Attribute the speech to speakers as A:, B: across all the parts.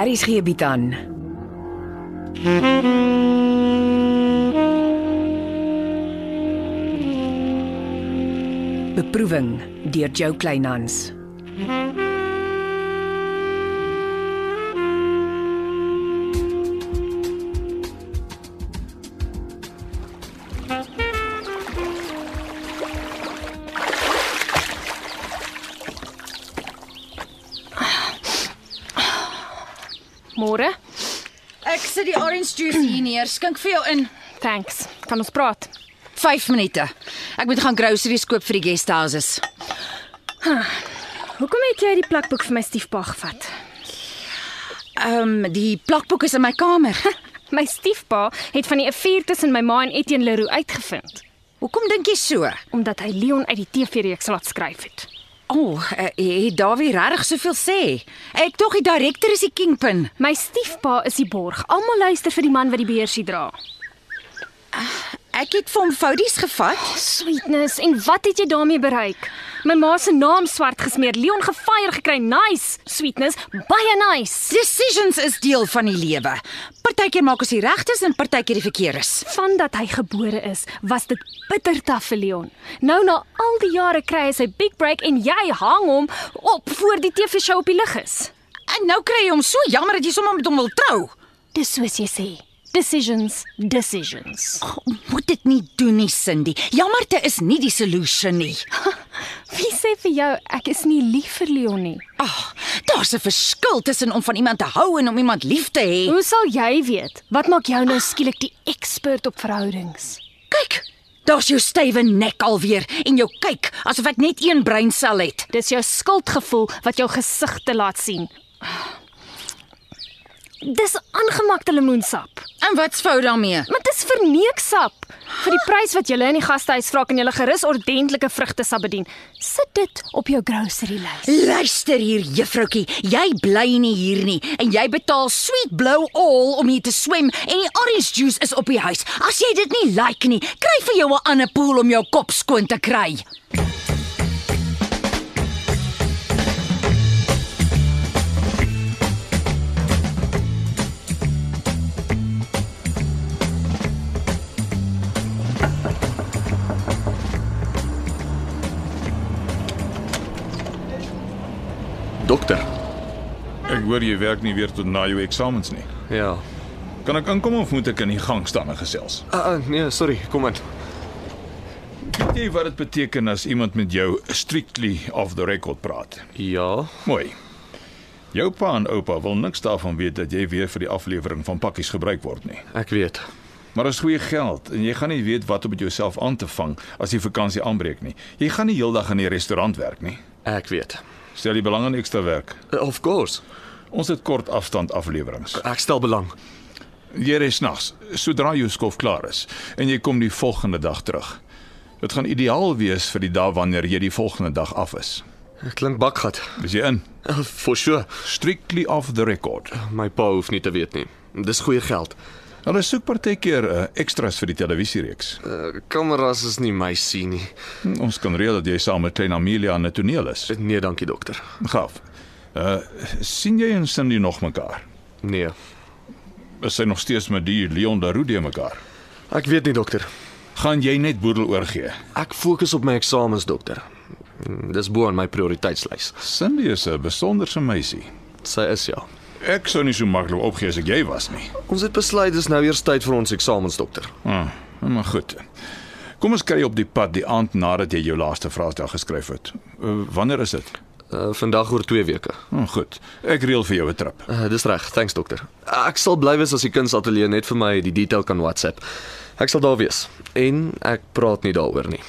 A: Aries gee bied aan. Beproeving deur Jo Kleinhans.
B: Môre?
C: Ek sit die orange juice hier neer. Skink vir jou in
B: Thanks. Kan ons praat?
C: 5 minute. Ek moet gaan groceries koop vir die guest houses.
B: Hoekom het jy die plakboek vir my stiefpa gevat?
C: Ehm um, die plakboek is in my kamer.
B: My stiefpa het van die affair tussen my ma en Etienne Leroux uitgevind,
C: Hoekom dink jy so?
B: omdat hy Leon uit die TV-reeks laat skryf het.
C: O, oh, eh, het Dawie regtig soveel sê? Ek tog die direkteur is die kingpin.
B: My stiefpa is die borg. Almal luister vir die man wat die beheersie dra.
C: Ek het vir hom fouties gevat.
B: Sweetness, en wat het jy daarmee bereik? My ma se naam swart gesmeer, Leon gefire gekry. Nice, sweetness, baie nice.
C: Decisions is deel van die lewe. Partykeer maak ons die regtes en partykeer die verkeerdes.
B: Van dat hy gebore is, was dit bitter taaf vir Leon. Nou na al die jare kry hy sy big break en jy hang hom op voor die TV-show op die lig is.
C: En nou kry jy hom so jammer dat jy sommer met hom wil trou.
B: Dis soos jy sê. Decisions, decisions.
C: Oh, moet dit nie doen nie, Cindy. Jammerte is nie die solution nie.
B: Wie sê vir jou ek is nie lief vir Leon nie?
C: Ag, Ah, daar's 'n verskil tussen om van iemand te hou en om iemand lief te hê.
B: Hoe sal jy weet? Wat maak jou nou skielik die expert op verhoudings?
C: Kyk, daar's jou stywe nek alweer en jou kyk asof ek net een breinsel het.
B: Dis jou skuldgevoel wat jou gesig te laat sien. Dis aangemakte lemoensap.
C: En wat's fout daarmee?
B: Maar dis verneeksap. Vir die prys wat jy in die gastehuis vra kan jy gerus ordentlike vrugte sap bedien. Sit dit op jou grocery lys.
C: Luister hier, juffroutjie, jy bly nie hier nie en jy betaal sweet blou all om hier te swem en die orange juice is op die huis. As jy dit nie like nie, kry vir jou 'n ander pool om jou kop skoon te kry.
D: Dokter.
E: Ek hoor jy werk nie weer tot na jou eksamens nie.
D: Ja.
E: Kan ek inkom of moet ek in die gang staan en gesels?
D: Ah, ah, nee, sorry, kom in.
E: Weet jy wat dit beteken as iemand met jou strictly off the record praat?
D: Ja.
E: Mooi. Jou pa en oupa wil niks daarvan weet dat jy weer vir die aflewering van pakkies gebruik word nie.
D: Ek weet.
E: Maar as goeie geld en jy gaan nie weet wat om met jouself aan te vang as die vakansie aanbreek nie. Jy gaan nie heeldag in die restaurant werk nie.
D: Ek weet.
E: Stel jy belang in ekstra werk.
D: Eh, Of course.
E: Ons het kort afstand afleweringe.
D: Ek stel belang.
E: Jy ry snags sodra jou skof klaar is en jy kom die volgende dag terug. Dit gaan ideaal wees vir die dag wanneer jy die volgende dag af is.
D: Ek klink bakgat.
E: Is jy in?
D: Eh, For sure.
E: Strictly off the record.
D: My pa hoef nie te weet nie. Dis goeie geld.
E: Hulle soek partykeer uh, extras vir die televisiereeks.
D: Uh, kameras is nie my sien nie.
E: Hm, Ons kan reël dat jy saam met Klein Amelia aan 'n toneel is.
D: Nee, dankie dokter.
E: Gaaf. Uh sien jy en Cindy nog mekaar?
D: Nee.
E: Is sy nog steeds met die Leon Daroe de mekaar?
D: Ek weet nie dokter.
E: Gaan jy net boedel oorgee?
D: Ek fokus op my eksamens dokter. Mm, Dis bo aan my prioriteitslys.
E: Cindy is 'n besonderse meisie.
D: Sy is ja.
E: Ek sou nie so maklik opgee as ek jy was nie.
D: Ons het besluit dis nou eers tyd vir ons eksamens dokter.
E: Ah, maar goed. Kom ons kry op die pad die aand nadat jy jou laaste vraestel geskryf het. Uh, wanneer is dit?
D: Uh, vandag oor 2 weke.
E: Oh, goed. Ek reël vir jou 'n trip.
D: Uh, dis reg, thanks dokter. Eh, Ek sal bly wees as die kunsateljee net vir my die detail kan WhatsApp. Ek sal daar wees en ek praat nie daaroor nie.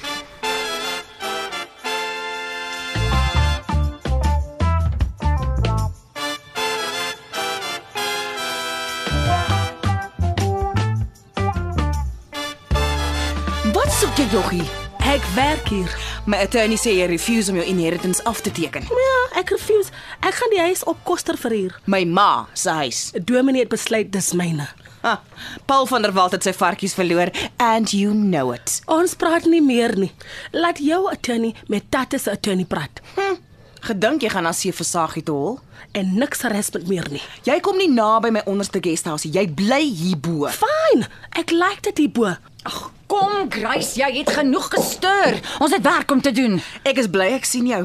F: Wat soek jy, Joggie?
G: Ek werk hier.
F: My attorney sê jy refuse om jou inheritance af te teken.
G: Ja, ek refuse. Ek gaan die huis op koster verhuur.
F: My ma se huis.
G: Dominee het besluit dis myne.
F: Ha, Paul van der Walt het sy varkies verloor and you know it.
G: Ons praat nie meer nie. Laat jou attorney met Tatte se attorney praat.
F: Hm, Gedink jy gaan na Seeversagie toe hol?
G: en niks harassment meer nie.
F: Jy kom nie naby my onderste guesthouse. nie. Jy bly hierbo.
G: Fyn, ek like dit hierbo.
C: Ag, kom Grace, jy het genoeg gestuur. Ons het werk om te doen.
F: Ek is bly ek sien jou.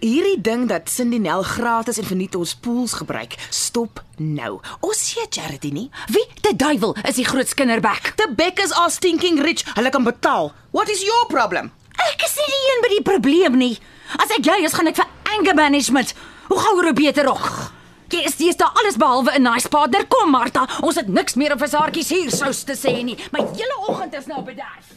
F: Hierdie ding dat Cindy Nel gratis en verniet ons pools gebruik, stop nou. Ons see charity nie.
C: Wie die duiwel is die groot skinderbek?
F: The Beckers are stinking rich. Hulle kan betaal. What is your problem?
C: Ek is nie die een by die probleem nie. As ek jy is, gaan ek vir anger management. Hoe gouer hoe beter rog. Jy is dis daar alles behalwe 'n nice partner. Kom Martha, ons het niks meer om vir saartjies hier sous te sê nie. My hele oggend is nou bederf.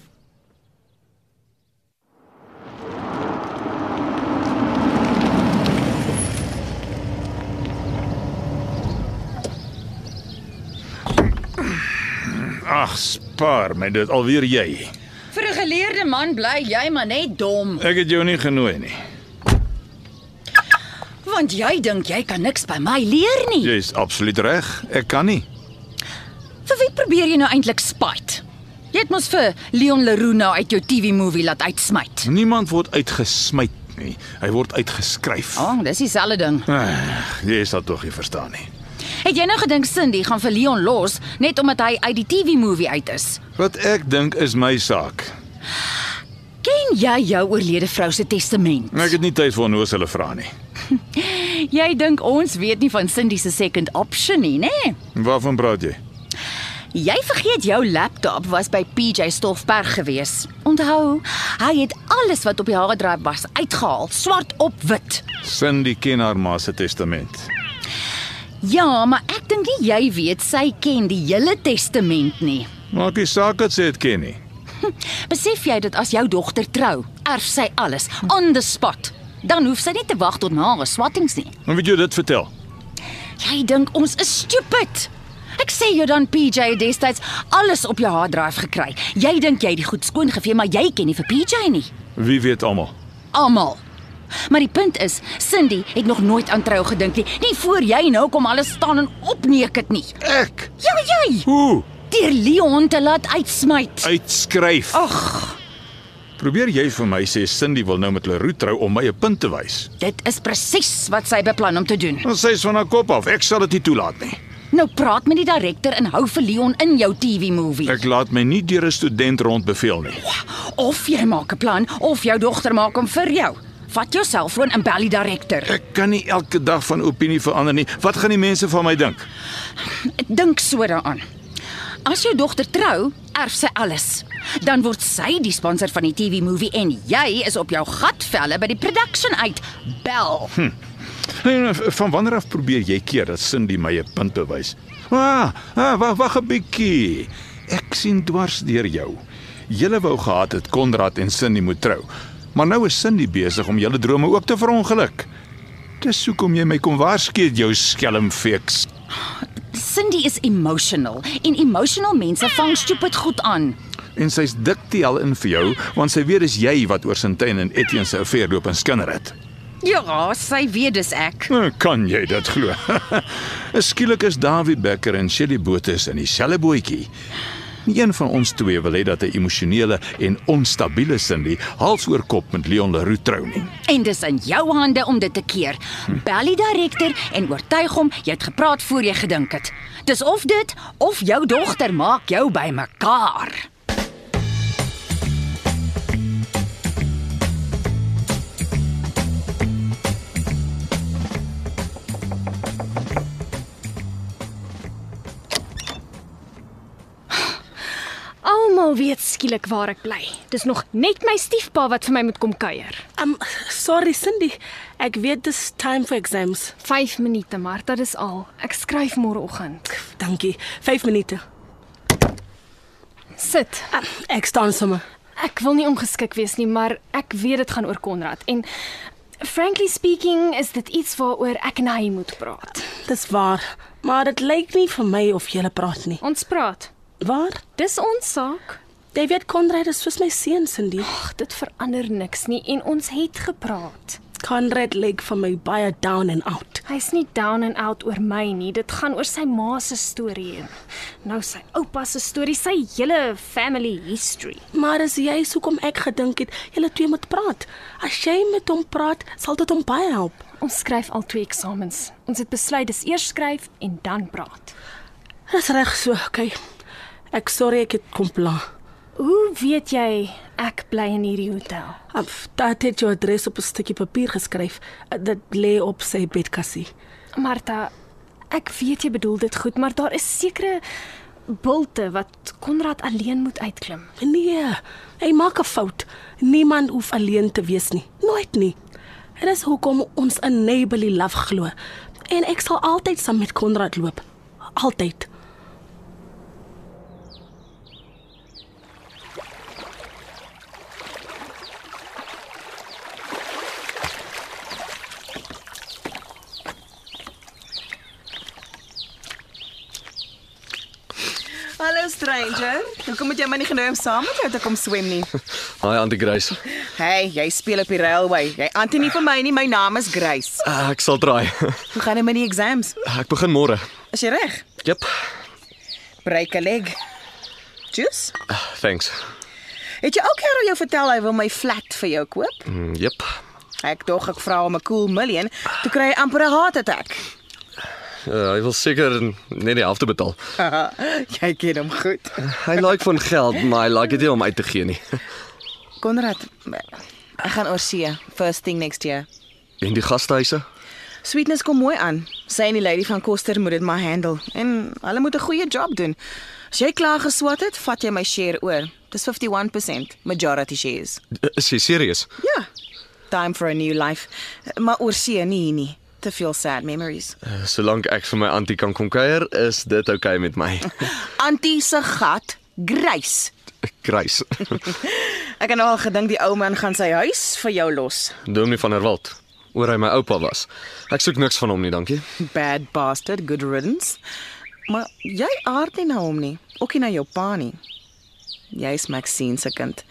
E: Ag, spaar my dit alweer jy.
C: Vir 'n geleerde man bly jy maar net dom,
E: Ek het jou nie genooi nie.
C: want jy dink jy kan niks by my leer nie.
E: Jy's absoluut reg. Ek kan nie.
C: Vir wie probeer jy nou eintlik spyt? Jy het mos vir Leon Leruna uit jou TV-movie laat uitsmyt.
E: Niemand word uitgesmy nie. Hy word uitgeskryf.
C: O, oh, dis dieselfde ding.
E: Ag, jy is dit tog nie verstaan nie.
C: Het jy nou gedink Cindy gaan vir Leon los net omdat hy uit die TV-movie uit is?
E: Wat ek dink is my saak.
C: Ken jy jou oorlede vrou se testament?
E: Nou, Ek het nie tyd vir onnoosele vrae nie.
C: Jy dink ons weet nie van Cindy se second option nie, né? Nee?
E: Waarvan praat jy?
C: Jy vergeet jou laptop was by PJ Stoffberg gewees. Onthou, hy het alles wat op die harde drive was uitgehaal, swart op wit.
E: Cindy ken haar ma se testament.
C: Ja, maar ek dink nie jy weet sy ken die hele testament nie.
E: Maak nie saak dat sy dit ken nie.
C: Besef jy dat as jou dogter trou, erf sy alles on the spot. Dan hoef sy nie te wag tot na haar swattings nie.
E: En weet jy dit vertel?
C: Jy dink ons is stupid. Ek sê jou dan PJ het destyds alles op jou harddrive gekry. Jy dink jy het die goed skoon gevee, maar jy ken nie vir PJ nie.
E: Wie weet almal.
C: Almal. Maar die punt is, Cindy het nog nooit aan trou gedink nie. Nie voor jy nou kom alles staan en opneek het nie.
E: Ek.
C: Ja, jy.
E: Hoe?
C: Deur Leon te laat uitsmyt.
E: Uitskryf. Ag. Probeer jy vir my sê Cindy wil nou met Leroux trou om my 'n punt te wys?
C: Dit is presies wat sy beplan om te doen.
E: Ons sê van haar kop af, ek sal dit nie toelaat nie.
C: Nou praat met die direkteur en hou vir Leon in jou TV movie.
E: Ek laat my nie deur 'n student rondbeveel nie.
C: Of jy maak 'n plan of jou dogter maak hom vir jou. Vat jou selfoon en bel die direkteur.
E: Ek kan nie elke dag van opinie verander nie. Wat gaan die mense van my dink?
C: Dink so daaraan. As jou dogter trou, erf sy alles. Dan word sy die sponsor van die TV movie en jy is op jou gatvelle by die production uit. Bel. Hm.
E: Nee, nee, Van wanneer af probeer jy keer dat Cindy my 'n punt bewys? Ah, ah wag, wag 'n bietjie. Ek sien dwars deur jou. Julle wou gehad het Konrad en Cindy moet trou. Maar nou is Cindy besig om julle drome ook te verongeluk. Dis hoekom jy my kom waarsku het, jou skelmfeeks.
C: Cindy is emotional en emotional mense vang stupid goed aan.
E: En sy's diktiel in vir jou want sy weet dis jy wat oor Sintyn en Etienne se affair loop en skinder het.
C: Ja, sy weet dis ek.
E: Nou, Kan jy dit glo? Skielik is Dawie Becker en Shelley Botha in dieselfde bootjie. Nie een van ons twee wil hê dat 'n emosionele en onstabiele Cindy hals oor kop met Leon Leroux trou nie.
C: En dis in jou hande om dit te keer. Bel die direkteur en oortuig hom jy het gepraat voor jy gedink het. Dis of dit of jou dogter maak jou bymekaar.
B: Almal weet skielik waar ek bly. Dis nog net my stiefpa wat vir my moet kom kuier.
G: Um sorry Cindy, ek weet dis time for exams.
B: 5 minute, Martha, dis al. Ek skryf môreoggend.
G: Dankie. 5 minute.
B: Sit.
G: Um, ek staan sommer.
B: Ek wil nie ongeskik wees nie, maar ek weet dit gaan oor Konrad en frankly speaking is dit iets waaroor ek en hy moet praat.
G: Dis waar, maar dit lyk nie vir my of jy praat nie.
B: Ons praat.
G: Waar?
B: Dis ons saak.
G: Jy weet Konrad is soos my seun Cindy.
B: Ag, dit verander niks nie en ons het gepraat.
G: Conrad lyk vir my baie down and out.
B: Hy's nie down and out oor my nie. Dit gaan oor sy ma se storie en nou sy oupa se storie, sy hele family history.
G: Maar as jy hoekom ek gedink het julle twee moet praat. As jy met hom praat, sal dit hom baie help.
B: Ons skryf al twee eksamens. Ons het besluit dis eers skryf en dan praat.
G: Dis reg so, okay. Ek sorry ek het kom pla.
B: Hoe weet jy ek bly in hierdie hotel?
G: Af, Daar het jou adres op 'n stukkie papier geskryf. Eh, Dit lê op sy bedkassie.
B: Martha, ek weet jy bedoel dit goed, maar daar is sekere bulte wat Konrad alleen moet uitklim.
G: Nee, hy maak 'n fout. Niemand hoef alleen te wees nie. Nooit nie. Dit is hoekom ons in neighborly love glo. En ek sal altyd saam met Konrad loop. Altyd.
F: Hallo stranger. Hoekom het jy my nie genooi om saam met jou te kom swem nie?
D: Hi Auntie Grace.
F: Hey, jy speel op die railway. Jy antwoord nie vir my nie. My naam is Grace.
D: Uh, ek sal try.
F: Hoe gaan dit met die exams?
D: ek begin môre.
F: Is jy reg?
D: Jep.
F: Breek 'n leg. Juice?
D: Uh, thanks.
F: Het jy ook Karel jou vertel hy wil my flat vir jou koop?
D: Mm, jep.
F: Ek dog ek vra hom 'n cool million, toe kry hy amper 'n heart attack.
D: Uh, hy wil seker net die helfte betaal.
F: jy ken hom goed.
D: Hy like van geld, maar hy like dit nie om uit te gee nie.
F: Konrad, ek gaan oor see first thing next year.
D: En die gastehuise?
F: Sweetness kom mooi aan. Sy en die lady van Koster moet dit maar handle en hulle moet 'n goeie job doen. As jy klaar geswat het, vat jy my share oor. Dis 51% majority shares.
D: Eh, Is jy serieus?
F: Ja. Time for a new life. Maar oor see nie hier nie. Te veel sad memories.
D: Uh, solank ek vir my auntie kan kom kuier, is dit oukei okay met my.
F: Antie se gat, Grace.
D: Grace.
F: Ek het nou al gedink die ou man gaan sy huis vir jou los.
D: Dominee van der Walt. Oor hy my oupa was. Ek soek niks van hom nie, dankie.
F: Bad bastard, good riddance. Maar jy aard nie na hom nie, ook nie na jou pa nie. Jy's Maxine se kind.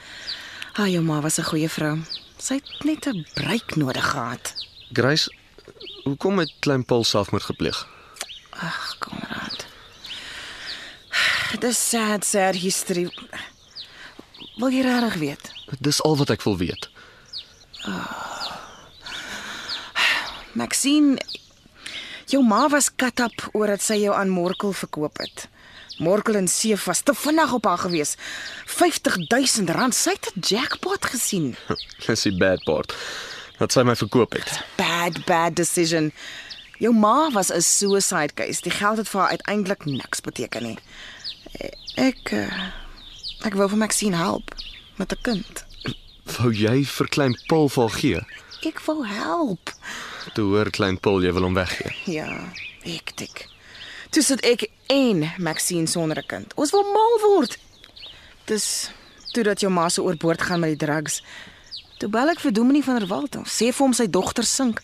F: Haar jou ma was 'n goeie vrou. Sy het net 'n breek nodig gehad.
D: Grace, hoekom het klein Paul selfmoord gepleeg?
F: Ag, Konrad. Dis sad, sad history. Wil jy regtig weet?
D: Dis al wat ek wil weet.
F: Maxine, jou ma was katap oor dat sy jou aan Morkel verkoop het. Morkel en Seef was te vinnig op haar gewees. 50000 rand, sy het 'n jackpot gesien.
D: Dis die bad part. Dat sy my verkoop het.
F: Bad, bad decision. Jou ma was 'n suicide case. Die geld het vir haar uiteindelik niks beteken nie. Ek eh, ek wil vir Maxine help met 'n kind.
D: Wou jy vir klein Paul val gee?
F: Ek wil help.
D: Toe hoor klein Paul jy wil hom weggee.
F: Ja, hektiek. Toe sit ek en Maxine sonder 'n kind. Ons wil mal word. Dis toe dat jou ma se oorboord gaan met die drugs. Toe bel ek vir Dominee van der Walt en sê vir hom sy dogter sink.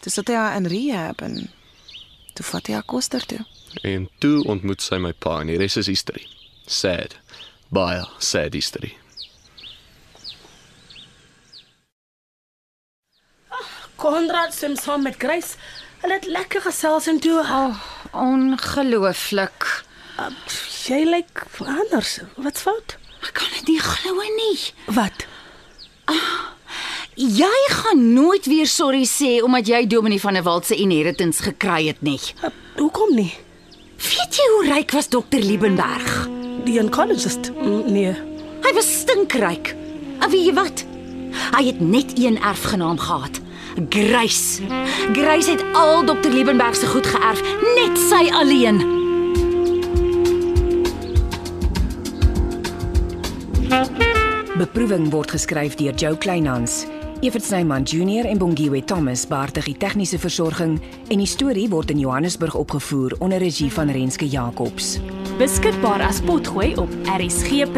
F: Toe sit hy haar in rehab en toe vat hy haar koster toe.
D: En toe ontmoet sy my pa en die res is history. Sad. Baie sad history.
G: Konrad swem saam met Grace. Hulle het lekker gesels en toe oh,
C: Ongelooflik.
G: jy lyk anders. Wat's fout?
C: Ek kan dit nie glo nie.
G: Wat?
C: Jy gaan nooit weer sorry sê omdat jy Dominee van der Walt se inheritance gekry het nie.
G: Uh, hoekom nie?
C: Weet jy hoe ryk was dokter Liebenberg?
G: Die oncologist? Mm, Nee.
C: Hy was stinkryk. En weet jy wat? Hy het net een erfgenaam gehad. Grace. Grace het al dokter Liebenberg se goed geërf, net sy alleen.
A: Beproeving word geskryf deur Jo Kleinhans. Evert Snyman Junior en Bongwe Thomas baartig die tegniese versorging en die storie word in Johannesburg opgevoer onder regie van Renske Jacobs.
B: Beskikbaar as potgooi op rsg.co.za.